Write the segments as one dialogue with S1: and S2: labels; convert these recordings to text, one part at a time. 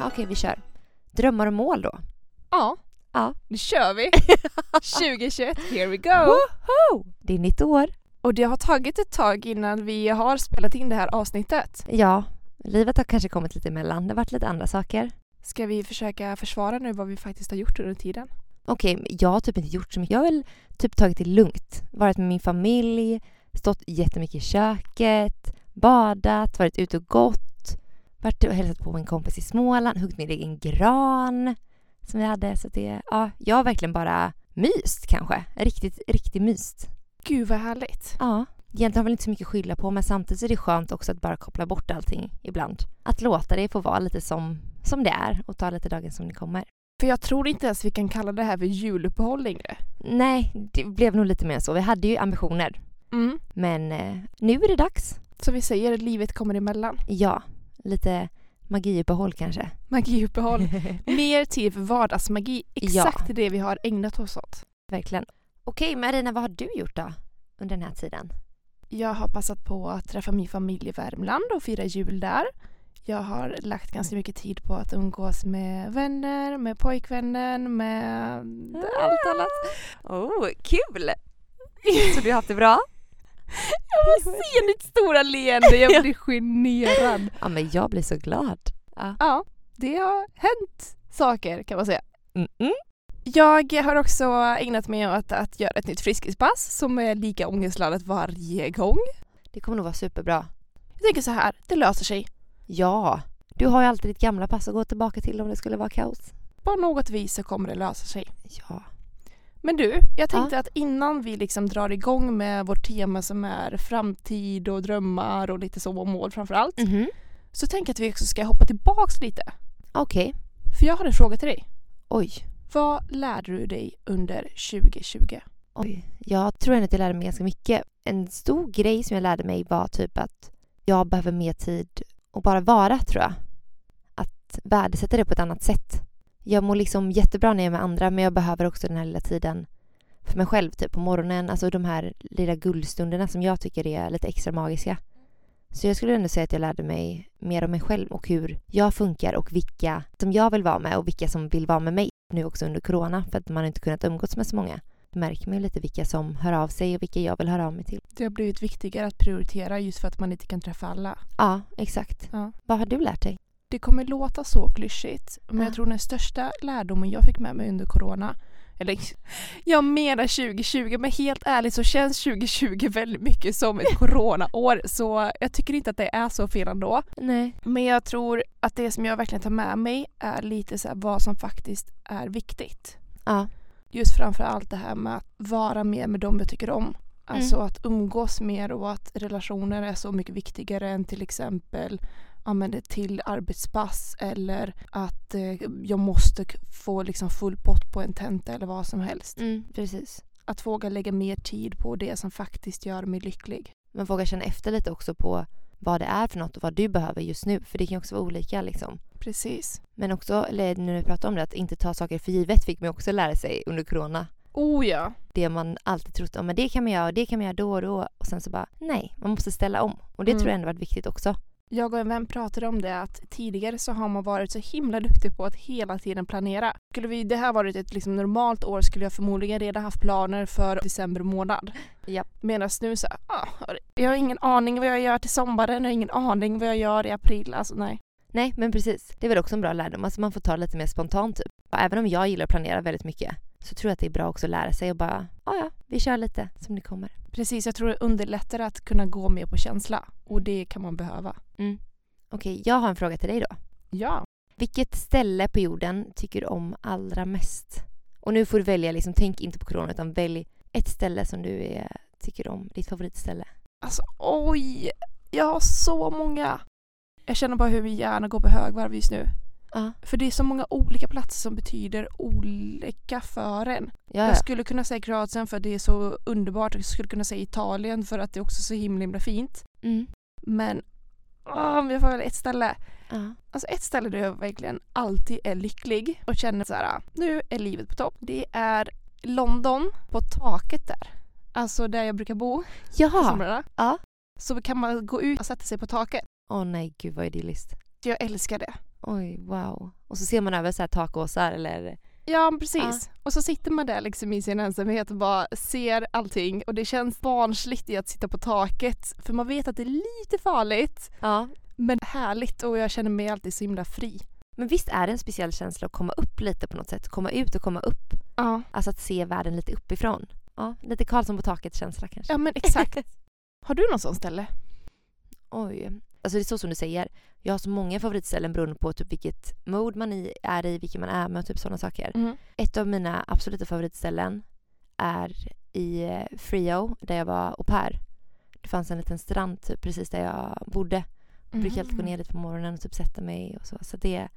S1: Okej, vi kör. Drömmar och mål då?
S2: Ja.
S1: Ja.
S2: Nu kör vi! 2021, here we go!
S1: Woho! Det är nytt år.
S2: Och det har tagit ett tag innan vi har spelat in det här avsnittet.
S1: Ja, livet har kanske kommit lite emellan. Det har varit lite andra saker.
S2: Ska vi försöka försvara nu vad vi faktiskt har gjort under tiden?
S1: Okej, men jag har typ inte gjort så mycket. Jag har väl typ tagit det lugnt. Varit med min familj, stått jättemycket i köket, badat, varit ute och gått. Varit och hälsat på min kompis i Småland, huggit min egen gran som vi hade. Så det, ja, jag har verkligen bara myst kanske. Riktigt, riktigt myst.
S2: Gud vad härligt!
S1: Ja. Egentligen har jag väl inte så mycket att skylla på men samtidigt är det skönt också att bara koppla bort allting ibland. Att låta det få vara lite som, som det är och ta lite dagen som det kommer.
S2: För jag tror inte ens vi kan kalla det här för juluppehåll längre.
S1: Nej, det blev nog lite mer än så. Vi hade ju ambitioner.
S2: Mm.
S1: Men eh, nu är det dags.
S2: Som vi säger, livet kommer emellan.
S1: Ja, lite magiuppehåll kanske.
S2: Magiuppehåll. Mer tid för vardagsmagi. Exakt det vi har ägnat oss åt.
S1: Verkligen. Okej Marina, vad har du gjort då under den här tiden?
S2: Jag har passat på att träffa min familj i Värmland och fira jul där. Jag har lagt ganska mycket tid på att umgås med vänner, med pojkvännen, med allt annat.
S1: Oh, kul! Så du har haft det bra?
S2: Jag ser ditt stora leende, jag blir generad.
S1: Ja, men jag blir så glad. Ja.
S2: Ja, det har hänt saker kan man säga.
S1: Mm-mm.
S2: Jag har också ägnat mig åt att göra ett nytt friskispass som är lika ångestladdat varje gång.
S1: Det kommer nog vara superbra.
S2: Jag tänker så här, det löser sig.
S1: Ja, du har ju alltid ditt gamla pass att gå tillbaka till om det skulle vara kaos.
S2: På något vis så kommer det lösa sig.
S1: Ja.
S2: Men du, jag tänkte att innan vi liksom drar igång med vårt tema som är framtid och drömmar och lite så och mål framför allt.
S1: Mm. Mhm.
S2: Så tänker jag att vi också ska hoppa tillbaks lite.
S1: Okej,
S2: För jag har en fråga till dig.
S1: oj.
S2: Vad lärde du dig under 2020?
S1: oj. Jag tror ändå att jag lärde mig ganska mycket. En stor grej som jag lärde mig var typ att jag behöver mer tid och bara vara tror jag. Att värdesätta det på ett annat sätt. Jag mår liksom jättebra när jag är med andra men jag behöver också den här lilla tiden för mig själv typ på morgonen. Alltså de här lilla guldstunderna som jag tycker är lite extra magiska. Så jag skulle ändå säga att jag lärde mig mer om mig själv och hur jag funkar och vilka som jag vill vara med och vilka som vill vara med mig nu också under corona för att man inte kunnat umgås med så många. Jag märker mig lite vilka som hör av sig och vilka jag vill höra av mig till.
S2: Det har blivit viktigare att prioritera just för att man inte kan träffa alla.
S1: Ja, exakt.
S2: Ja.
S1: Vad har du lärt dig?
S2: Det kommer låta så klyschigt men
S1: Ja.
S2: jag tror den största lärdomen jag fick med mig under corona eller jag menar 2020 men helt ärligt så känns 2020 väldigt mycket som ett coronaår så jag tycker inte att det är så fel ändå.
S1: Nej.
S2: Men jag tror att det som jag verkligen tar med mig är lite så här vad som faktiskt är viktigt.
S1: Ja.
S2: Just framför allt det här med att vara mer med dem jag tycker om. Alltså att umgås mer och att relationer är så mycket viktigare än till exempel ja, men ett till arbetspass eller att eh, jag måste k- få liksom full pott på en tenta eller vad som helst.
S1: precis.
S2: Att våga lägga mer tid på det som faktiskt gör mig lycklig.
S1: Men våga känna efter lite också på vad det är för något och vad du behöver just nu. För det kan ju också vara olika liksom.
S2: Precis.
S1: Men också, eller nu när vi pratar om det, att inte ta saker för givet fick man också lära sig under corona.
S2: Oh ja!
S1: det man alltid trott om, men det kan man göra och det kan man göra då och då. Och sen så bara, nej, man måste ställa om. Och det
S2: Mm.
S1: tror jag ändå varit viktigt också.
S2: Jag och en vän pratade om det att tidigare så har man varit så himla duktig på att hela tiden planera. Skulle vi, det här varit ett liksom normalt år skulle jag förmodligen redan haft planer för december månad.
S1: Japp.
S2: Medan nu så här, ah, jag har ingen aning vad jag gör till sommaren, jag har ingen aning vad jag gör i april. Alltså nej.
S1: Nej, men precis. Det är väl också en bra lärdom. Alltså man får ta lite mer spontant typ. Och även om jag gillar att planera väldigt mycket så tror jag att det är bra också att lära sig och bara, ja ja, vi kör lite som det kommer.
S2: Precis, jag tror det underlättar att kunna gå mer på känsla och det kan man behöva.
S1: Okej, jag har en fråga till dig då.
S2: Ja.
S1: Vilket ställe på jorden tycker du om allra mest? Och nu får du välja, liksom, tänk inte på corona utan välj ett ställe som du är, tycker om, ditt favoritställe.
S2: Alltså oj, jag har så många. Jag känner bara hur min hjärna går på högvarv just nu.
S1: Ja,
S2: För det är så många olika platser som betyder olika för en.
S1: ja, ja.
S2: Jag skulle kunna säga Kroatien för att det är så underbart. Jag skulle kunna säga Italien för att det är också så himla himla fint.
S1: Mm.
S2: Men åh, om jag får välja ett ställe.
S1: ja.
S2: Alltså ett ställe där jag verkligen alltid är lycklig och känner så här, "Ah, nu är livet på topp. Det är London, på taket där. Alltså där jag brukar bo på
S1: Jaha!
S2: somrarna.
S1: Ja.
S2: Så kan man gå ut och sätta sig på taket.
S1: Åh nej, gud vad idylliskt.
S2: Jag älskar det.
S1: Oj, wow. Och så ser man över så här takåsar eller...
S2: Ja, men precis. Och så sitter man där liksom i sin ensamhet och bara ser allting och det känns barnsligt i att sitta på taket för man vet att det är lite farligt
S1: Ja.
S2: men härligt och jag känner mig alltid så himla fri.
S1: Men visst är det en speciell känsla att komma upp lite på något sätt? Komma ut och komma upp.
S2: Ja,
S1: Alltså att se världen lite uppifrån. Ja, lite Karlsson på taket-känsla kanske.
S2: ja men exakt. Har du någon sån ställe?
S1: Oj. Alltså det är så som du säger. Jag har så många favoritställen beroende på typ vilket mode man i, är i, vilken man är med och typ sådana saker.
S2: Mm.
S1: Ett av mina absoluta favoritställen är i eh, Frio där jag var au pair. Det fanns en liten strand typ, precis där jag bodde. Jag brukar
S2: Mm.
S1: alltid gå ner dit på morgonen och typ sätta mig och så. Så det,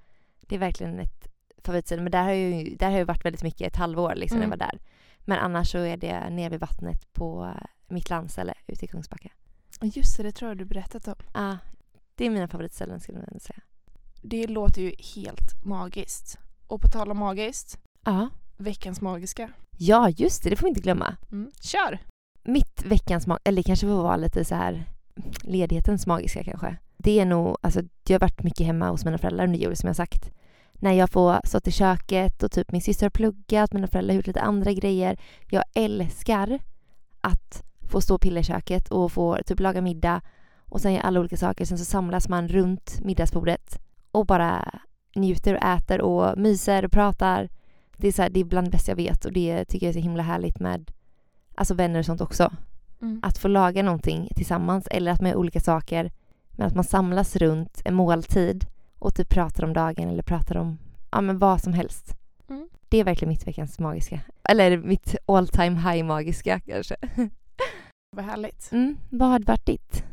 S1: det är verkligen ett favoritställe. Men där har jag ju där har jag varit väldigt mycket, ett halvår liksom när jag var där. Men annars så är det ner vid vattnet på eh, mitt landställe ute i Kungsbacka.
S2: Just det, det tror jag du berättat om.
S1: Ah, det är mina favoritställen skulle jag vilja säga.
S2: Det låter ju helt magiskt. Och på tal om magiskt,
S1: Ja.
S2: veckans magiska.
S1: Ja, just det. Det får vi inte glömma.
S2: Mm. Kör!
S1: Mitt veckans mag- eller kanske får vara lite så här ledighetens magiska kanske. Det är nog, alltså jag har varit mycket hemma hos mina föräldrar under jul som jag sagt. När jag får stått i köket och typ min syster har pluggat, mina föräldrar har gjort lite andra grejer. Jag älskar att få stå och pilla i köket och få typ laga middag och sen göra alla olika saker. Sen så samlas man runt middagsbordet och bara njuter och äter och myser och pratar. Det är, så här, det är bland det bästa jag vet och det tycker jag är så himla härligt med alltså vänner och sånt också
S2: Mm.
S1: att få laga någonting tillsammans eller att man gör olika saker. Men att man samlas runt en måltid och typ pratar om dagen eller pratar om ja, men vad som helst.
S2: Mm.
S1: Det är verkligen mitt veckans magiska. Eller mitt all time high magiska kanske.
S2: Vad härligt.
S1: Mm, vad har varit ditt?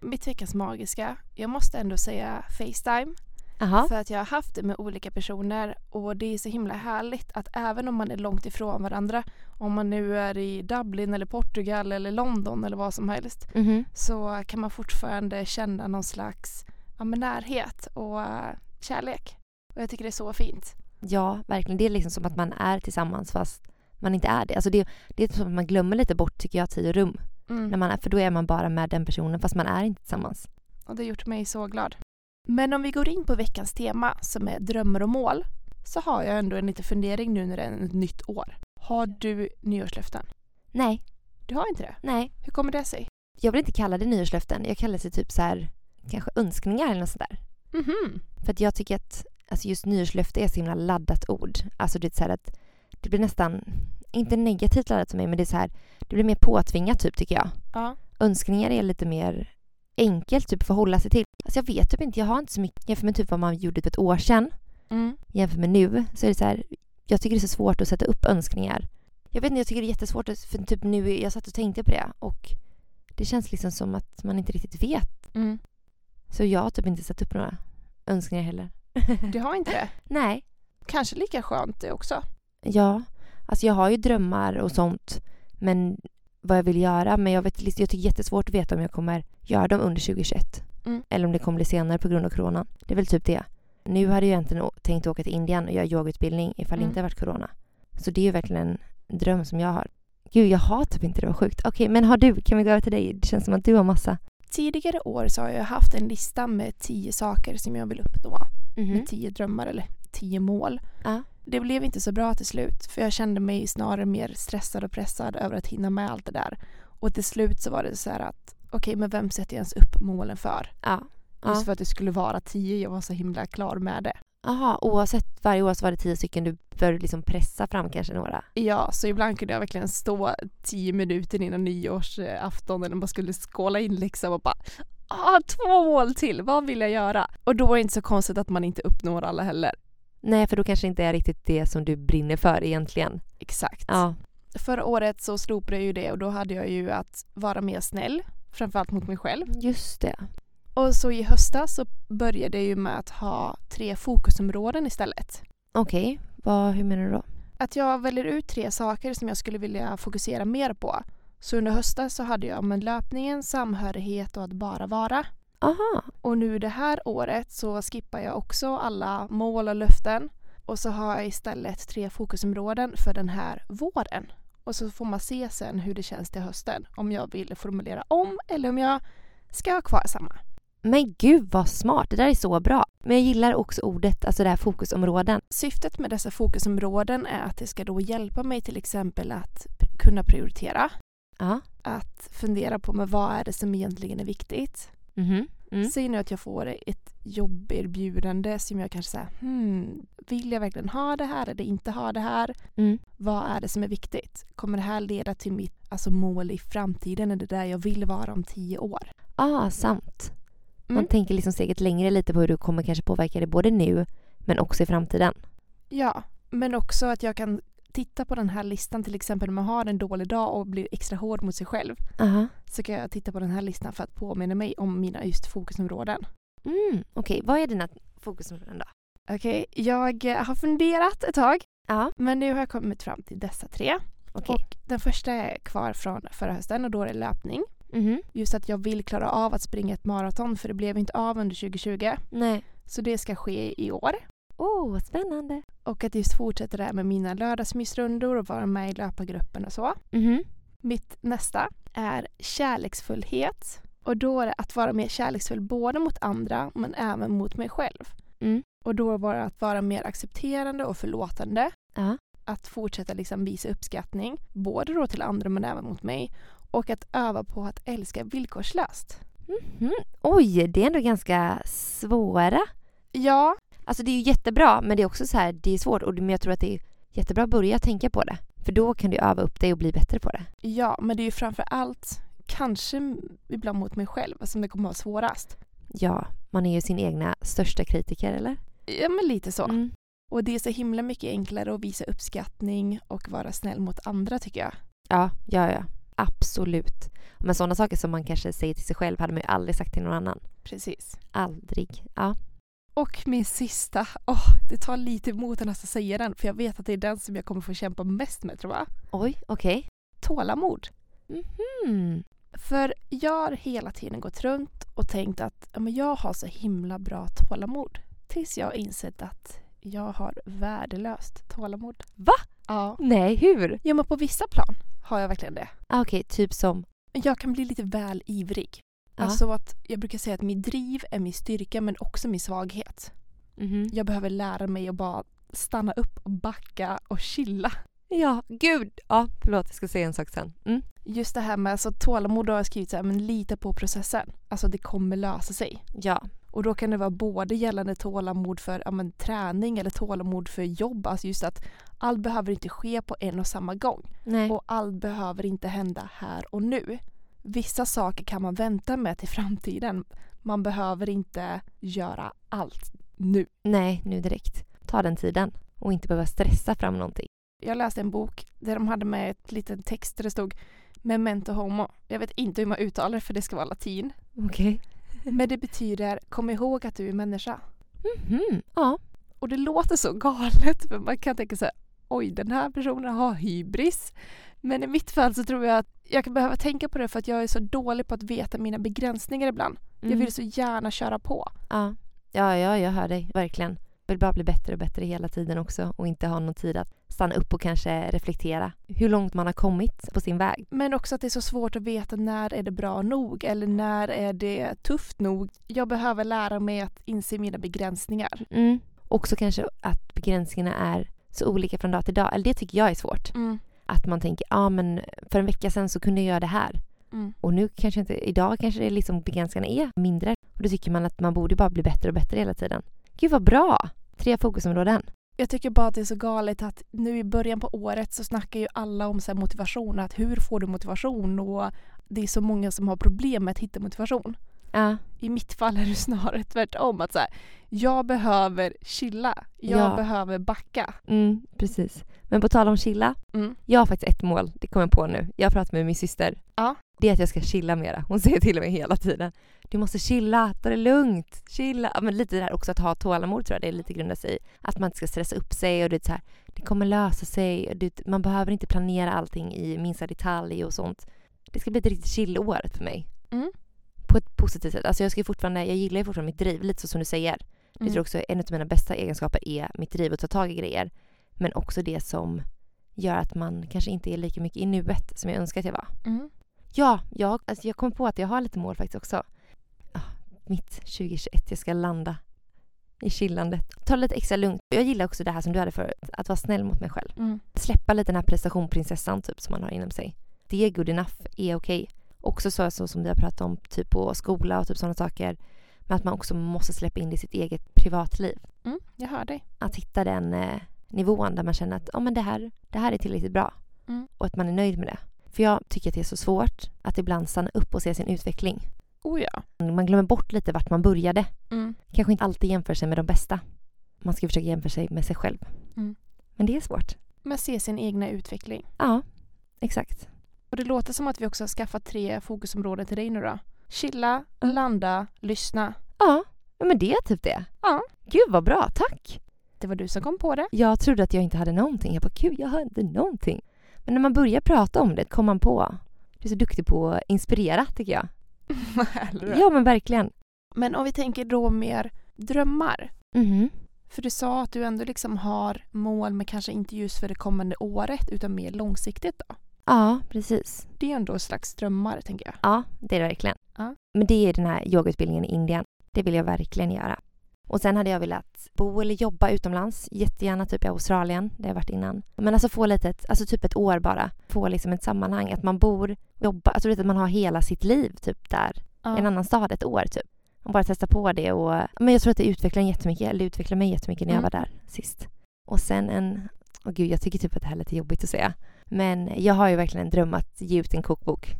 S2: Mitt veckans magiska, jag måste ändå säga Facetime.
S1: Jaha.
S2: För att jag har haft det med olika personer och det är så himla härligt att även om man är långt ifrån varandra, om man nu är i Dublin eller Portugal eller London eller vad som helst,
S1: Mhm.
S2: så kan man fortfarande känna någon slags ja, men närhet och eh, kärlek. Och jag tycker det är så fint.
S1: Ja, verkligen. Det är liksom som att man är tillsammans fast man inte är det. Alltså det, det är som att man glömmer lite bort tycker jag tid och rum.
S2: Mm.
S1: När man är, för då är man bara med den personen fast man är inte tillsammans.
S2: Och det har gjort mig så glad. Men om vi går in på veckans tema som är drömmar och mål så har jag ändå en liten fundering nu när det är ett nytt år. Har du nyårslöften?
S1: Nej,
S2: Du har inte det?
S1: nej.
S2: Hur kommer det sig?
S1: jag vill inte kalla det nyårslöften. Jag kallar det typ så här, kanske önskningar eller något sånt där.
S2: Mhm.
S1: För att jag tycker att alltså just nyårslöfte är ett så himla laddat ord. Alltså det är så här att det blir nästan, inte negativt laddat för mig, men det är så här, det blir mer påtvingat typ tycker jag.
S2: Ja.
S1: Önskningar är lite mer enkelt typ för att hålla sig till. Alltså jag vet typ inte, jag har inte så mycket jämfört med typ vad man gjorde för ett år sedan
S2: Mm.
S1: jämfört med nu så är det så här, jag tycker det är så svårt att sätta upp önskningar. Jag vet inte, jag tycker det är jättesvårt att- för typ nu, jag satt och tänkte på det och det känns liksom som att man inte riktigt vet.
S2: Mm.
S1: Så jag har typ inte satt upp några önskningar heller.
S2: Du har inte det?
S1: Nej.
S2: Kanske lika skönt det också.
S1: Ja. Alltså jag har ju drömmar och sånt men vad jag vill göra men jag, vet, liksom- jag tycker det är jättesvårt att veta om jag kommer göra dem under 2021.
S2: Mm.
S1: Eller om det kommer bli senare på grund av corona. Det är väl typ det. Nu hade jag egentligen å- tänkt åka till Indien och göra yogautbildning ifall det
S2: Mm.
S1: inte hade varit corona. Så det är ju verkligen en dröm som jag har. Gud, jag har typ inte det, vad sjukt. Okej, men har du? Kan vi gå över till dig? Det känns som att du har massa.
S2: Tidigare år så har jag haft en lista med tio saker som jag vill uppnå.
S1: Mhm.
S2: Med tio drömmar eller tio mål.
S1: Ja.
S2: Det blev inte så bra till slut för jag kände mig snarare mer stressad och pressad över att hinna med allt det där. Och till slut så var det så här att okej men vem sätter jag ens upp målen för?
S1: Ja.
S2: Just
S1: Ja.
S2: för att det skulle vara tio, jag var så himla klar med det.
S1: Aha, oavsett, varje år så var det tio stycken. Du bör liksom pressa fram kanske några.
S2: Ja, så ibland kunde jag verkligen stå tio minuter innan nyårsafton eller man skulle skåla in liksom och bara ah, två mål till, vad vill jag göra? Och då är det inte så konstigt att man inte uppnår alla heller.
S1: Nej, för då kanske det inte är riktigt det som du brinner för egentligen.
S2: Exakt.
S1: Ja.
S2: Förra året så slopade jag ju det och då hade jag ju att vara mer snäll, framförallt mot mig själv.
S1: Just det.
S2: Och så i höstas så började jag ju med att ha tre fokusområden istället.
S1: Okej, vad, hur menar du då?
S2: Att jag väljer ut tre saker som jag skulle vilja fokusera mer på. Så under höstas så hade jag med löpningen, samhörighet och att bara vara.
S1: Aha,
S2: Och nu det här året så skippar jag också alla mål och löften. Och så har jag istället tre fokusområden för den här våren. Och så får man se sen hur det känns till hösten. Om jag vill formulera om eller om jag ska ha kvar samma.
S1: Men gud vad smart, det där är så bra. Men jag gillar också ordet, alltså det här fokusområden.
S2: Syftet med dessa fokusområden är att det ska då hjälpa mig till exempel att pr- kunna prioritera.
S1: Ja.
S2: Att fundera på men vad är det som egentligen är viktigt.
S1: Mhm. Mm.
S2: Säg nu att jag får ett jobberbjudande som jag kanske säger hmm, vill jag verkligen ha det här eller inte ha det här?
S1: Mm.
S2: Vad är det som är viktigt? Kommer det här leda till mitt alltså, mål i framtiden? Är det där jag vill vara om tio år?
S1: Ah, sant. Man
S2: Mm.
S1: tänker liksom steget längre lite på hur du kommer kanske påverka det både nu men också i framtiden.
S2: Ja, men också att jag kan titta på den här listan till exempel när man har en dålig dag och blir extra hård mot sig själv
S1: Aha.
S2: så kan jag titta på den här listan för att påminna mig om mina just fokusområden.
S1: Mm, Okej, vad är dina fokusområden då?
S2: Okej, jag eh, har funderat ett tag
S1: Ja,
S2: men nu har jag kommit fram till dessa tre.
S1: okej.
S2: Och den första är kvar från förra hösten och då är det löpning.
S1: Mhm.
S2: Just att jag vill klara av att springa ett maraton för det blev inte av under 2020.
S1: Nej.
S2: Så det ska ske i år.
S1: Åh, oh, spännande.
S2: Och att just fortsätta det här med mina lördagsmysrundor och vara med i löpargruppen och så.
S1: Mhm.
S2: Mitt nästa är kärleksfullhet. Och då är det att vara mer kärleksfull både mot andra men även mot mig själv.
S1: Mm.
S2: Och då var det att vara mer accepterande och förlåtande.
S1: Ja.
S2: Att fortsätta liksom visa uppskattning både då till andra men även mot mig. Och att öva på att älska villkorslöst.
S1: Mhm. Oj, det är ändå ganska svåra.
S2: Ja,
S1: Alltså det är ju jättebra men det är också så här, det är svårt och det- men jag tror att det är jättebra att börja tänka på det. För då kan du öva upp dig och bli bättre på det.
S2: ja men det är ju framför allt kanske ibland mot mig själv som det kommer vara svårast.
S1: Ja, man är ju sin egna största kritiker eller?
S2: Ja men lite så.
S1: Mm.
S2: Och det är så himla mycket enklare att visa uppskattning och vara snäll mot andra tycker jag.
S1: Ja, ja, ja. Absolut. Men sådana saker som man kanske säger till sig själv hade man ju aldrig sagt till någon annan.
S2: Precis.
S1: Aldrig. Ja.
S2: Och min sista. Åh, det tar lite emot att nästan säga den för jag vet att det är den som jag kommer få kämpa mest med tror jag.
S1: Oj, okej.
S2: Tålamod.
S1: Mm.
S2: För jag har hela tiden gått runt och tänkt att ja, men jag har så himla bra tålamod. Tills jag har insett att jag har värdelöst tålamod.
S1: Va?
S2: Ja.
S1: Nej, hur?
S2: ja men på vissa plan har jag verkligen det.
S1: Ah, okej, typ som...
S2: Men jag kan bli lite väl ivrig.
S1: Ja.
S2: Alltså att jag brukar säga att min driv är min styrka men också min svaghet.
S1: Mhm.
S2: Jag behöver lära mig att bara stanna upp och backa och chilla.
S1: Ja, gud. Ja, förlåt. Jag ska säga en sak sen. Mm.
S2: Just det här med alltså, tålamod har jag skrivit så här, men lita på processen. Alltså det kommer lösa sig.
S1: Ja.
S2: Och då kan det vara både gällande tålamod för ja, men, träning eller tålamod för jobb. Alltså just att allt behöver inte ske på en och samma gång.
S1: Nej.
S2: Och allt behöver inte hända här och nu. Vissa saker kan man vänta med till framtiden. Man behöver inte göra allt nu.
S1: Nej, nu direkt. Ta den tiden och inte behöva stressa fram någonting.
S2: Jag läste en bok där de hade med ett liten text där det stod Memento homo. Jag vet inte hur man uttalar det för det ska vara latin.
S1: Okej.
S2: Men det betyder kom ihåg att du är människa.
S1: Mhm. Ja.
S2: Och det låter så galet för man kan tänka så här oj den här personen har hybris. Men i mitt fall så tror jag att jag kan behöva tänka på det för att jag är så dålig på att veta mina begränsningar ibland. Jag
S1: Mm.
S2: vill så gärna köra på.
S1: Ja. ja, ja, jag hör dig. Verkligen. Vill bara bli bättre och bättre hela tiden också och inte ha någon tid att stanna upp och kanske reflektera hur långt man har kommit på sin väg.
S2: Men också att det är så svårt att veta när är det bra nog eller när är det tufft nog. Jag behöver lära mig att inse mina begränsningar.
S1: Mm. Också kanske att begränsningarna är så olika från dag till dag. Eller det tycker jag är svårt.
S2: Mm.
S1: Att man tänker, ja men för en vecka sedan så kunde jag göra det här.
S2: Mm.
S1: Och nu kanske inte, idag kanske det är liksom begränsningarna är mindre. Och då tycker man att man borde bara bli bättre och bättre hela tiden. Gud vad bra! Tre fokusområden.
S2: Jag tycker bara att det är så galet att nu i början på året så snackar ju alla om så här motivation, att hur får du motivation? Och det är så många som har problem med att hitta motivation.
S1: Ja,
S2: I mitt fall är det snarare tvärtom. Att så här, jag behöver chilla. Jag
S1: Ja.
S2: behöver backa.
S1: mm, precis. Men på tal om chilla.
S2: Mm.
S1: Jag har faktiskt ett mål, det kommer jag på nu. Jag har pratat med min syster.
S2: Ja.
S1: Det är att jag ska chilla mera. Hon säger till mig hela tiden. Du måste chilla, ta det lugnt, chilla. Ja, men lite det här också att ha tålamod tror jag det är lite grundat sig i. Att man inte ska stressa upp sig och det, är så här, det kommer lösa sig. Och det, man behöver inte planera allting i minsta detalj och sånt. Det ska bli ett riktigt chill-år för mig.
S2: Mm.
S1: På ett positivt sätt. Alltså jag, ska ju fortfarande, jag gillar ju fortfarande mitt driv, lite så som du säger. Jag
S2: Mm.
S1: tror också en av mina bästa egenskaper är mitt driv att ta tag i grejer. Men också det som gör att man kanske inte är lika mycket i nuet som jag önskar att jag var.
S2: Mm.
S1: Ja, jag, alltså jag kom på att jag har lite mål faktiskt också. Ah, mitt 2021. Jag ska landa i chillandet. Ta lite extra lugnt. Jag gillar också det här som du hade förut, att vara snäll mot mig själv.
S2: Mm.
S1: Släppa lite den här prestationprinsessan typ som man har inom sig. Det är good enough, är okej. Också så, så som vi har pratat om typ på skola och typ sådana saker. Men att man också måste släppa in det i sitt eget privatliv.
S2: Mm, jag hör dig.
S1: Att hitta den eh, nivån där man känner att oh, men det, här, det här är tillräckligt bra.
S2: Mm.
S1: Och att man är nöjd med det. För jag tycker att det är så svårt att ibland stanna upp och se sin utveckling.
S2: Oh ja.
S1: Man glömmer bort lite vart man började.
S2: Mm.
S1: Kanske inte alltid jämför sig med de bästa. Man ska försöka jämföra sig med sig själv.
S2: Mm.
S1: Men det är svårt.
S2: Men se sin egna utveckling.
S1: Ja, exakt.
S2: Och det låter som att vi också har skaffat tre fokusområden till dig nu då. Chilla,
S1: Mm.
S2: landa, lyssna.
S1: Ja, men det är typ det.
S2: Ja.
S1: Gud vad bra, tack!
S2: Det var du som kom på det.
S1: Jag trodde att jag inte hade någonting. Jag bara, gud jag har inte någonting. Men när man börjar prata om det kom man på. Du är så duktig på att inspirera tycker jag. Ja men verkligen.
S2: Men om vi tänker då mer drömmar.
S1: Mhm.
S2: För du sa att du ändå liksom har mål men kanske inte just för det kommande året utan mer långsiktigt då.
S1: Ja, precis.
S2: Det är ju ändå en slags drömmar tänker jag.
S1: Ja, det är det verkligen.
S2: Ja.
S1: Men det är den här yogautbildningen i Indien. Det vill jag verkligen göra. Och sen hade jag velat bo eller jobba utomlands. Jättegärna typ i Australien, där jag varit innan. Men alltså få lite, ett, alltså typ ett år bara. Få liksom ett sammanhang, att man bor, jobbar, alltså du vet att man har hela sitt liv typ där.
S2: Ja.
S1: I en annan stad ett år typ. Och bara testa på det och men jag tror att det utvecklar en jättemycket, eller utvecklar mig jättemycket när jag
S2: Mm.
S1: var där sist. Och sen en, åh gud jag tycker typ att det här är lite jobbigt att säga. Men jag har ju verkligen en dröm att ge ut en kokbok.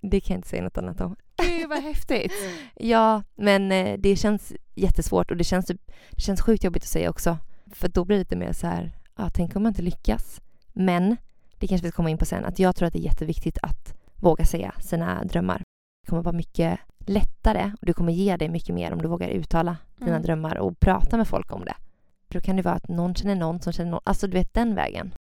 S1: Det kan jag inte säga något annat om.
S2: Gud vad häftigt.
S1: Ja, men eh, det känns jättesvårt och det känns, typ, det känns sjukt jobbigt att säga också. För då blir det lite mer så här, ja, tänk om man inte lyckas. Men det kanske vi ska komma in på sen, att jag tror att det är jätteviktigt att våga säga sina drömmar. Det kommer vara mycket lättare och du kommer ge dig mycket mer om du vågar uttala dina
S2: Mm.
S1: drömmar och prata med folk om det. För då kan det vara att någon känner någon som känner någon, alltså du vet den vägen.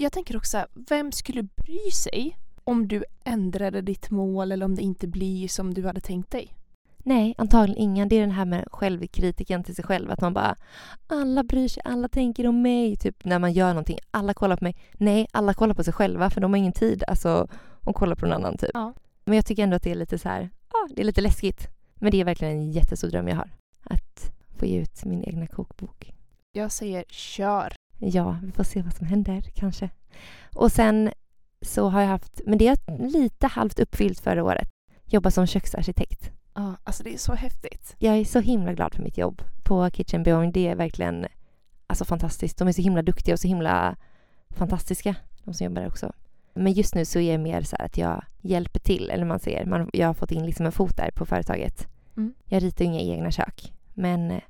S2: Jag tänker också, här, vem skulle bry sig om du ändrade ditt mål eller om det inte blir som du hade tänkt dig?
S1: Nej, antagligen ingen. Det är den här med självkritiken till sig själv. Att man bara alla bryr sig, alla tänker om mig. Typ när man gör någonting. Alla kollar på mig. Nej, alla kollar på sig själva för de har ingen tid alltså att kolla på någon annan typ.
S2: Ja.
S1: Men jag tycker ändå att det är lite så här, ja, det är lite läskigt. Men det är verkligen en jättestor dröm jag har. Att få ge ut min egna kokbok.
S2: Jag säger kör.
S1: Ja, vi får se vad som händer kanske. Och sen så har jag haft, men det är lite halvt uppfyllt förra året. Jobba som köksarkitekt.
S2: Ja, alltså det är så häftigt.
S1: Jag är så himla glad för mitt jobb på Kitchen Beyond. Det är verkligen alltså, fantastiskt. De är så himla duktiga och så himla fantastiska, de som jobbar där också. Men just nu så är jag mer så här att jag hjälper till, eller man ser. Man, jag har fått in liksom en fot där på företaget.
S2: Mm.
S1: Jag ritar inga egna kök, men eh,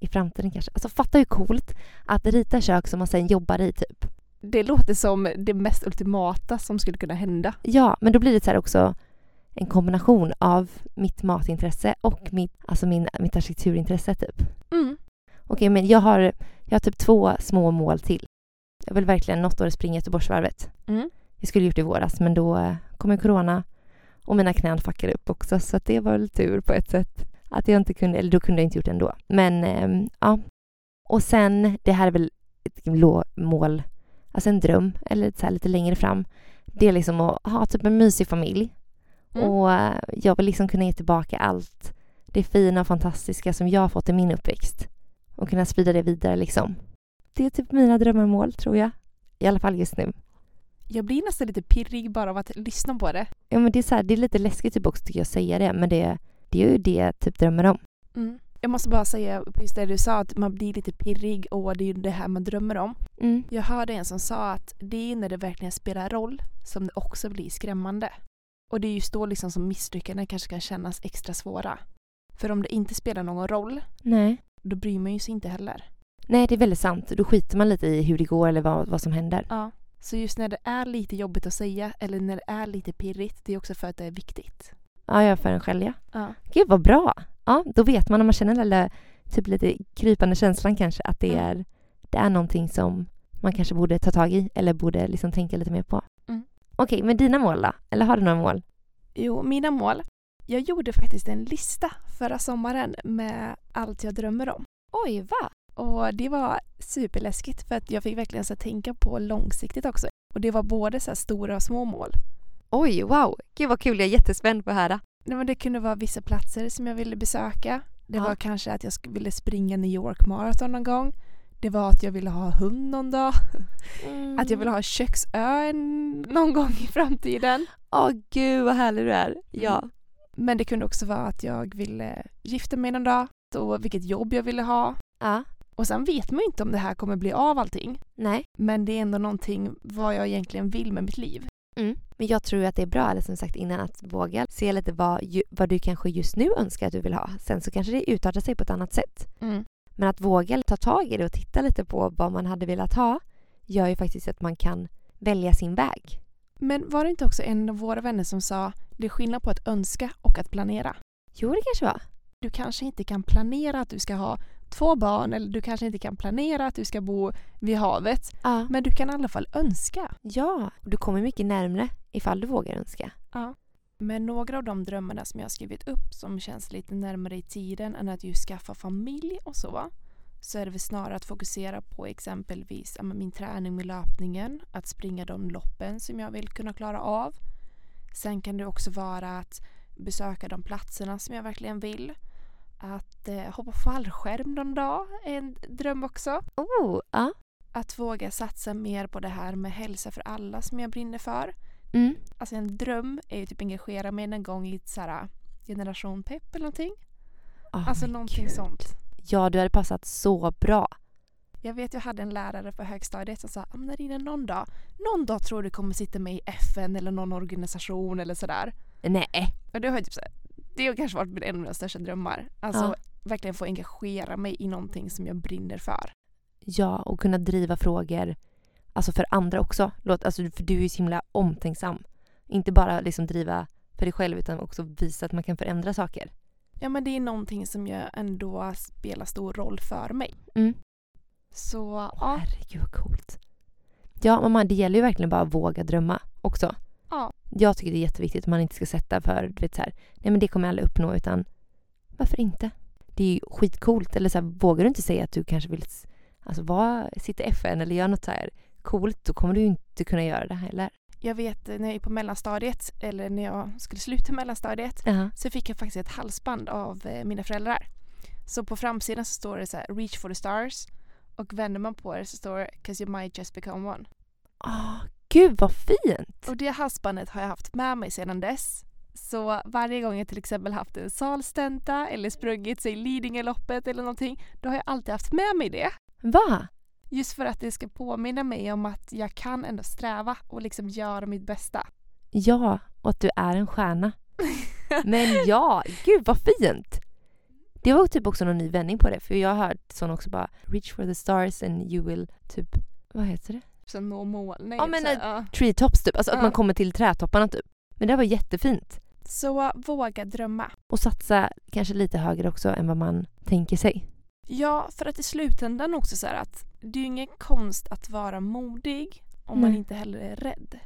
S1: i framtiden kanske. Alltså fatta hur coolt att rita kök som man sen jobbar i typ.
S2: Det låter som det mest ultimata som skulle kunna hända.
S1: Ja, men då blir det så här också en kombination av mitt matintresse och mitt, alltså min, mitt arkitekturintresse typ.
S2: Mm.
S1: Okej, men jag har, jag har typ två små mål till. Jag vill verkligen något år springa Göteborgsvarvet.
S2: Mm.
S1: Jag skulle gjort det i våras, men då eh, kom ju corona och mina knän fuckade upp också, så att det var väl tur på ett sätt. Att jag inte kunde, eller då kunde jag inte gjort det ändå. Men ehm, ja. Och sen, det här är väl ett lå- mål, alltså en dröm, eller så här lite längre fram. Det är liksom att ha typ en mysig familj.
S2: Mm.
S1: Och eh, jag vill liksom kunna ge tillbaka allt det fina och fantastiska som jag har fått i min uppväxt. Och kunna sprida det vidare liksom. Det är typ mina drömmar och mål tror jag. I alla fall just nu.
S2: Jag blir nästan lite pirrig bara av att lyssna på det.
S1: Ja men det är, så här, det är lite läskigt typ också tycker jag att säga det. Men det, det är ju det jag typ drömmer om.
S2: Jag måste bara säga just det du sa att man blir lite pirrig och det är ju det här man drömmer om.
S1: Mm.
S2: Jag hörde en som sa att det är när det verkligen spelar roll som det också blir skrämmande. Och det är just då liksom som misslyckanden kanske kan kännas extra svåra. För om det inte spelar någon roll,
S1: Nej.
S2: då bryr man ju sig inte heller.
S1: Nej det är väldigt sant. Då skiter man lite i hur det går eller vad, vad som händer.
S2: Ja. Så just när det är lite jobbigt att säga eller när det är lite pirrigt, det är också för att det är viktigt.
S1: Ja jag är för en själv ja.
S2: Ja.
S1: Gud vad bra! Ja då vet man om man känner den där typ lite krypande känslan kanske att det
S2: Mm.
S1: är, det är någonting som man kanske borde ta tag i eller borde liksom tänka lite mer på.
S2: Mm.
S1: Okej, men dina mål då? Eller har du några mål?
S2: Jo, mina mål. Jag gjorde faktiskt en lista förra sommaren med allt jag drömmer om.
S1: Oj, va?
S2: Och det var superläskigt för att jag fick verkligen så här tänka på långsiktigt också. Och det var både så här stora och små mål.
S1: Oj, wow! Gud vad kul, jag är jättespänd på att höra.
S2: Nej, men det kunde vara vissa platser som jag ville besöka. Det
S1: Ja.
S2: var kanske att jag sk- ville springa New York Marathon någon gång. Det var att jag ville ha hund någon dag.
S1: Mm.
S2: Att jag ville ha köksö en- någon gång i framtiden.
S1: Åh gud vad härlig du är. Ja.
S2: Men det kunde också vara att jag ville gifta mig någon dag och vilket jobb jag ville ha.
S1: Ja.
S2: Och sen vet man ju inte om det här kommer bli av allting.
S1: Nej.
S2: Men det är ändå någonting vad jag egentligen vill med mitt liv.
S1: Mm. Men jag tror att det är bra, eller som sagt innan, att våga se lite vad, ju, vad du kanske just nu önskar att du vill ha. Sen så kanske det utartar sig på ett annat sätt. Men att våga ta tag i det och titta lite på vad man hade velat ha gör ju faktiskt att man kan välja sin väg.
S2: Men var det inte också en av våra vänner som sa det är skillnad på att önska och att planera.
S1: Jo, det kanske var.
S2: Du kanske inte kan planera att du ska ha två barn eller du kanske inte kan planera att du ska bo vid havet.
S1: Ja.
S2: Men du kan i alla fall önska.
S1: ja. Och Du kommer mycket närmre ifall du vågar önska.
S2: Men några av de drömmarna som jag har skrivit upp som känns lite närmare i tiden än att just skaffa familj och så. Så är det väl snarare att fokusera på exempelvis ja, men min träning med löpningen. Att springa de loppen som jag vill kunna klara av. Sen kan det också vara att besöka de platserna som jag verkligen vill. Att eh, hoppa fallskärm någon dag är en dröm också.
S1: Oh, ja.
S2: Att våga satsa mer på det här med hälsa för alla som jag brinner för.
S1: Mm.
S2: Alltså en dröm är ju typ engagera mig någon gång i ett så här äh, generation pepp eller någonting.
S1: Oh
S2: alltså
S1: my
S2: någonting
S1: gud.
S2: sånt.
S1: Ja, du hade passat så bra.
S2: Jag vet jag hade en lärare på högstadiet som sa om Narina någon dag, någon dag tror du kommer sitta med i FN eller någon organisation eller sådär.
S1: Nej.
S2: Och det har ju typ så här, det har kanske varit en av mina största drömmar. Alltså
S1: Ja.
S2: verkligen få engagera mig i någonting som jag brinner för.
S1: Ja, och kunna driva frågor alltså för andra också. Låt, alltså, för du är ju så himla omtänksam. Inte bara liksom driva för dig själv utan också visa att man kan förändra saker.
S2: Ja men det är någonting som jag ändå spelar stor roll för mig.
S1: Mm.
S2: Så ja,
S1: Herregud vad coolt. Ja, mamma, det gäller ju verkligen bara att våga drömma också.
S2: Ja.
S1: Jag tycker det är jätteviktigt att man inte ska sätta för, du vet så här, nej men det kommer jag aldrig uppnå utan varför inte? Det är ju skitcoolt. Eller så här, vågar du inte säga att du kanske vill s- alltså, vara, sitta i FN eller göra något så här coolt, då kommer du ju inte kunna göra det heller.
S2: jag vet när jag gick på mellanstadiet eller när jag skulle sluta mellanstadiet
S1: Ja.
S2: så fick jag faktiskt ett halsband av eh, mina föräldrar. Så på framsidan så står det så här “Reach for the stars” och vänder man på det så står det “Cause you might just become one”.
S1: Ah, gud vad fint!
S2: Och det halsbandet har jag haft med mig sedan dess. Så varje gång jag till exempel haft en salstenta eller sprungit sig Lidingöloppet eller någonting, då har jag alltid haft med mig det.
S1: Va?
S2: Just för att det ska påminna mig om att jag kan ändå sträva och liksom göra mitt bästa.
S1: Ja, och att du är en stjärna. Men ja, gud vad fint! Det var typ också någon ny vändning på det för jag har hört sån också bara Reach for the stars and you will typ vad heter det?
S2: Så nå mål. Nej,
S1: Ja, men
S2: så, här, ja.
S1: Tree tops typ, alltså att
S2: Ja.
S1: man kommer till trädtopparna typ. Men det var jättefint.
S2: så uh, våga drömma.
S1: Och satsa kanske lite högre också än vad man tänker sig.
S2: Ja, för att i slutändan också så här att det är ju ingen konst att vara modig om man
S1: Nej.
S2: inte heller är rädd.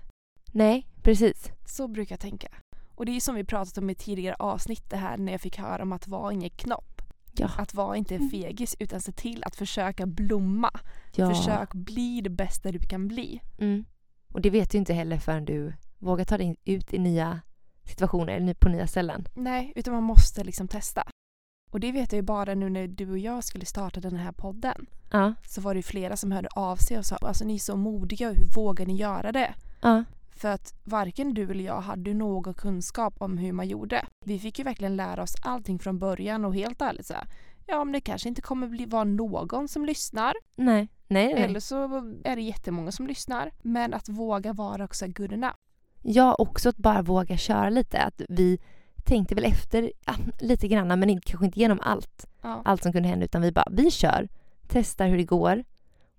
S1: Nej, precis.
S2: Så brukar jag tänka. Och det är ju som vi pratat om i tidigare avsnitt det här när jag fick höra om att vara ingen knopp.
S1: Ja. Mm.
S2: Att vara inte en fegis utan se till att försöka blomma.
S1: Ja.
S2: Försök bli det bästa du kan bli.
S1: Mm. Och det vet du inte heller förrän du vågar ta dig ut i nya situationer, ny- på nya ställen.
S2: Nej, utan man måste liksom testa. Och det vet jag ju bara nu när du och jag skulle starta den här podden.
S1: Ja.
S2: Så var det ju flera som hörde av sig och sa alltså ni är så modiga, hur vågar ni göra det?
S1: Ja.
S2: För att varken du eller jag hade ju någon kunskap om hur man gjorde. Vi fick ju verkligen lära oss allting från början och helt ärligt så här, ja men det kanske inte kommer bli vara någon som lyssnar.
S1: Nej. Nej, nej.
S2: Eller så är det jättemånga som lyssnar. Men att våga vara också good enough.
S1: Jag också att bara våga köra lite. Att vi tänkte väl efter ja, lite grann men inte- kanske inte genom allt,
S2: Ja.
S1: allt som kunde hända utan vi bara, vi kör, testar hur det går.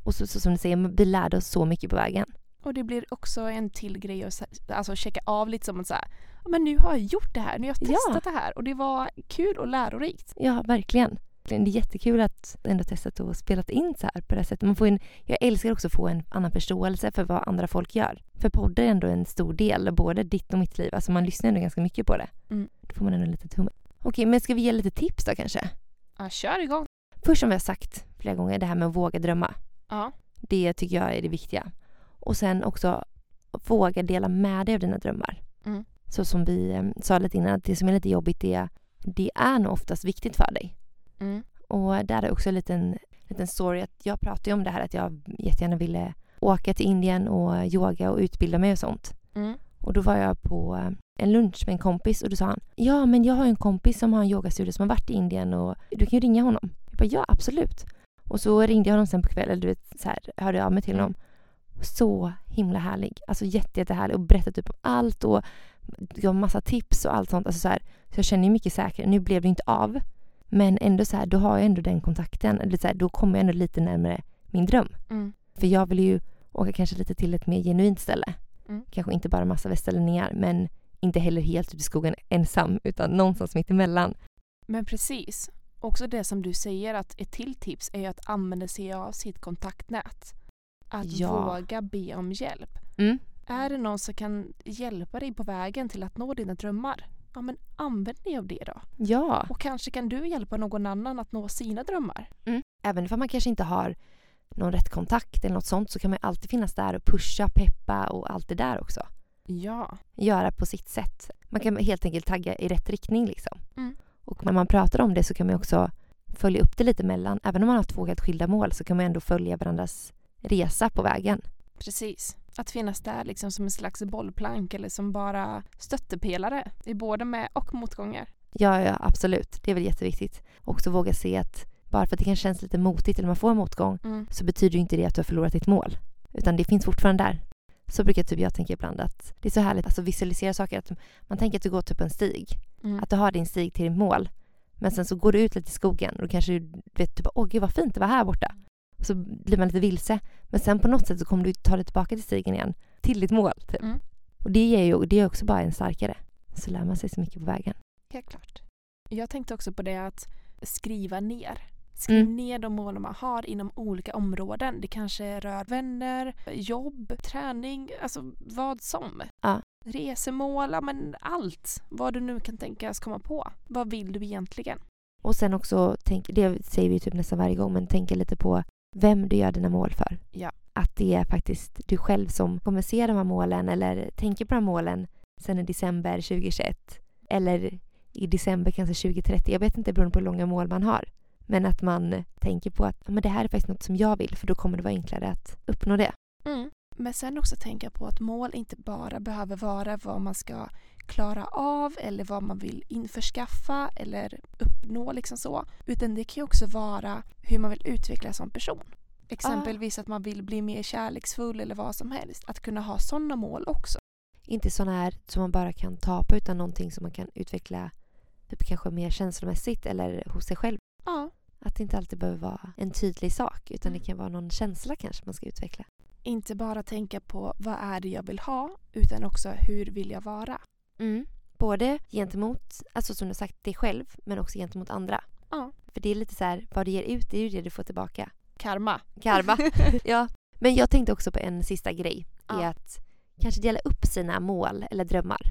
S1: Och så, så som du säger, vi lärde oss så mycket på vägen.
S2: Och det blir också en till grej att så- alltså, checka av lite som att så här, "Ja, men nu har jag gjort det här, nu har jag
S1: Ja.
S2: testat det här och det var kul och lärorikt.
S1: Ja, verkligen. Det är jättekul att ändå testat och spelat in så här på det här sättet. Man får en, jag älskar också att få en annan förståelse för vad andra folk gör. För poddar är ändå en stor del av både ditt och mitt liv. Alltså man lyssnar ändå ganska mycket på det.
S2: Mm.
S1: Då får man ändå en liten tumme. Okej, men ska vi ge lite tips då kanske?
S2: Ja, kör igång.
S1: Först som vi har sagt flera gånger, det här med att våga drömma.
S2: Ja.
S1: Det tycker jag är det viktiga. Och sen också våga dela med dig av dina drömmar.
S2: Mm.
S1: så som vi eh, sa lite innan, att det som är lite jobbigt det, det är nog oftast viktigt för dig.
S2: Mm.
S1: Och där är också en liten, liten story. Att jag pratade ju om det här att jag jättegärna ville åka till Indien och yoga och utbilda mig och sånt.
S2: Mm.
S1: Och då var jag på eh, en lunch med en kompis och då sa han Ja men jag har ju en kompis som har en yogastudio som har varit i Indien och du kan ju ringa honom. Jag bara ja absolut. Och så ringde jag honom sen på kvällen, eller du vet så här, hörde jag av mig till honom. Så himla härlig. Alltså jätte, jättehärlig och berättade typ om allt och gav massa tips och allt sånt. Alltså så, här, så jag känner ju mycket säkrare. Nu blev det inte av. Men ändå så här, då har jag ändå den kontakten. Eller så här, då kommer jag ändå lite närmare min dröm.
S2: Mm.
S1: För jag vill ju åka kanske lite till ett mer genuint ställe.
S2: Mm.
S1: Kanske inte bara massa västerlänningar men inte heller helt ut i skogen ensam utan någonstans mitt emellan.
S2: Men precis. Också det som du säger att ett till tips är ju att använda sig av sitt kontaktnät. Att
S1: Ja.
S2: våga be om hjälp.
S1: Mm.
S2: Är det någon som kan hjälpa dig på vägen till att nå dina drömmar? Ja men använd dig av det då.
S1: Ja,
S2: Och kanske kan du hjälpa någon annan att nå sina drömmar.
S1: även om man kanske inte har någon rätt kontakt eller något sånt så kan man ju alltid finnas där och pusha, peppa och allt det där också.
S2: Ja.
S1: Göra på sitt sätt. Man kan helt enkelt tagga i rätt riktning liksom.
S2: Mm.
S1: Och när man pratar om det så kan man ju också följa upp det lite mellan. Även om man har två helt skilda mål så kan man ju ändå följa varandras resa på vägen.
S2: Precis. Att finnas där liksom som en slags bollplank eller som bara stöttepelare i både med och motgångar.
S1: Ja, ja, absolut. Det är väl jätteviktigt. Också våga se att bara för att det kanske känns lite motigt eller man får en motgång
S2: Mm.
S1: så betyder ju inte det att du har förlorat ditt mål. Utan det finns fortfarande där. Så brukar typ jag tänka ibland att det är så härligt att alltså, visualisera saker. Att man tänker att du går typ en stig.
S2: Mm.
S1: Att du har din stig till ditt mål. Men sen så går du ut lite i skogen och då kanske du vet typ åh gud vad fint det var här borta. Och så blir man lite vilse. Men sen på något sätt så kommer du ta dig tillbaka till stigen igen. Till ditt mål typ.
S2: Mm.
S1: Och det ger ju det är också bara en starkare. Så lär man sig så mycket på vägen.
S2: Helt klart. Jag tänkte också på det att skriva ner. Skriv
S1: Mm.
S2: ner de mål man har inom olika områden. Det kanske rör vänner, jobb, träning, alltså vad som.
S1: Ja.
S2: Resemål, ja, men allt. Vad du nu kan tänkas komma på. Vad vill du egentligen?
S1: Och sen också, tänk, det säger vi ju typ nästan varje gång, men tänka lite på vem du gör dina mål för.
S2: Ja.
S1: Att det är faktiskt du själv som kommer se de här målen eller tänker på de här målen sen i december 2021. Eller i december kanske 2030. Jag vet inte beroende på hur långa mål man har. Men att man tänker på att "Ja, men det här är faktiskt något som jag vill för då kommer det vara enklare att uppnå det.
S2: Men sen också tänka på att mål inte bara behöver vara vad man ska klara av eller vad man vill införskaffa eller uppnå liksom så. Utan det kan ju också vara hur man vill utvecklas som person. Exempelvis att man vill bli mer kärleksfull eller vad som helst. Att kunna ha sådana mål också.
S1: Inte sådana här som man bara kan ta på utan någonting som man kan utveckla typ kanske mer känslomässigt eller hos sig själv.
S2: Ja.
S1: Att det inte alltid behöver vara en tydlig sak utan
S2: Mm.
S1: det kan vara någon känsla kanske man ska utveckla.
S2: Inte bara tänka på vad är det jag vill ha utan också hur vill jag vara. Mm.
S1: Både gentemot, alltså som du sagt, dig själv men också gentemot andra.
S2: Ja.
S1: För det är lite så här, vad du ger ut det är ju det du får tillbaka.
S2: Karma.
S1: Karma. ja. Men jag tänkte också på en sista grej.
S2: Ja.
S1: Är att kanske dela upp sina mål eller drömmar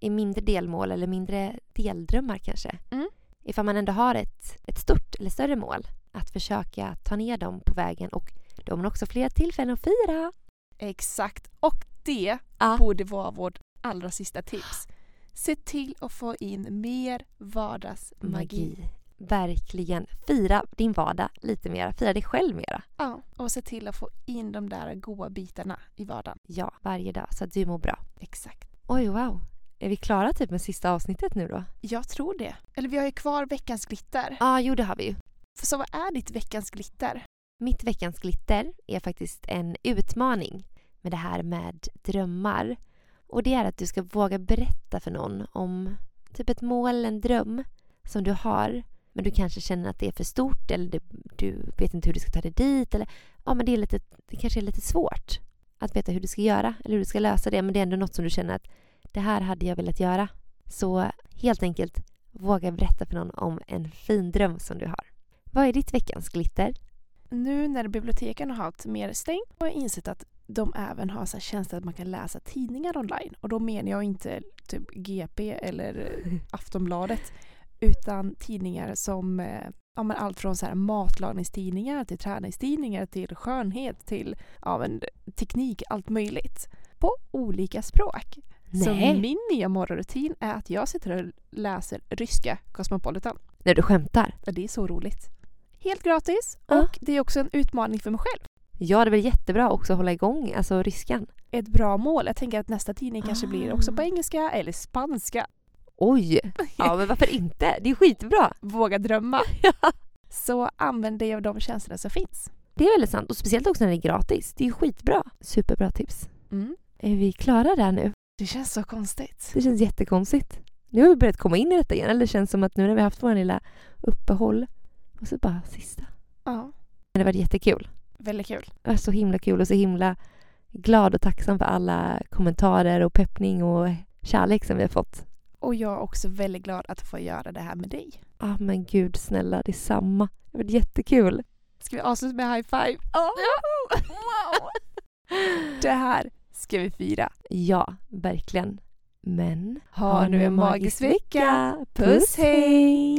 S1: i mindre delmål eller mindre deldrömmar kanske.
S2: Mm.
S1: Ifall man ändå har ett, ett stort eller större mål. Att försöka ta ner dem på vägen och då har man också flera tillfällen att fira.
S2: Exakt. Och det
S1: Ja.
S2: borde vara vårt allra sista tips. Se till att få in mer vardagsmagi.
S1: magi. Verkligen. Fira din vardag lite mera. Fira dig själv mera.
S2: Ja, och se till att få in de där goa bitarna i vardagen.
S1: Ja, varje dag så att du mår bra.
S2: Exakt.
S1: Oj, wow. Är vi klara typ med sista avsnittet nu då?
S2: Jag tror det. Eller vi har ju kvar veckans glitter.
S1: Ja, jo det har vi ju.
S2: Så vad är ditt veckans glitter?
S1: Mitt veckans glitter är faktiskt en utmaning med det här med drömmar. Och det är att du ska våga berätta för någon om typ ett mål eller en dröm som du har men du kanske känner att det är för stort eller du, du vet inte hur du ska ta dig dit eller ja men det, är lite, det kanske är lite svårt att veta hur du ska göra eller hur du ska lösa det men det är ändå något som du känner att det här hade jag velat göra. Så helt enkelt våga berätta för någon om en fin dröm som du har. Vad är ditt veckans glitter?
S2: Nu när biblioteken har haft mer stängt har jag insett att de även har så här tjänster att man kan läsa tidningar online. Och då menar jag inte typ GP eller Aftonbladet utan tidningar som eh, ja, men allt från så här matlagningstidningar till träningstidningar till skönhet till ja, men teknik, allt möjligt. På olika språk. Så
S1: Nej.
S2: min nya morgonrutin är att jag sitter och läser ryska Cosmopolitan.
S1: När du skämtar?
S2: Och det är så roligt. Helt gratis
S1: Ja.
S2: och det är också en utmaning för mig själv.
S1: Ja, det är väl jättebra också att hålla igång alltså ryskan.
S2: Ett bra mål. Jag tänker att nästa tidning kanske blir också på
S1: Ah.
S2: engelska eller spanska.
S1: Oj! Ja, men varför inte? Det är skitbra.
S2: Våga drömma. Så använd dig av de känslorna som finns.
S1: Det är väldigt sant och speciellt också när det är gratis. Det är ju skitbra. Superbra tips.
S2: Mm.
S1: Är vi klara där nu?
S2: Det känns så konstigt.
S1: Det känns jättekonstigt. Nu har vi börjat komma in i detta igen. Eller det känns som att nu när vi har haft vår lilla uppehåll och så bara sista.
S2: Ja,
S1: Men det var jättekul.
S2: väldigt kul.
S1: Det var så himla kul och så himla glad och tacksam för alla kommentarer och peppning och kärlek som vi har fått.
S2: Och jag är också väldigt glad att få göra det här med dig.
S1: Ah, men gud snälla, detsamma. Det var jättekul.
S2: Ska vi avsluta med high five? Wow. Det här ska vi fira.
S1: Ja, verkligen. Men
S2: Ha nu en magisk vecka. Puss,
S1: hej!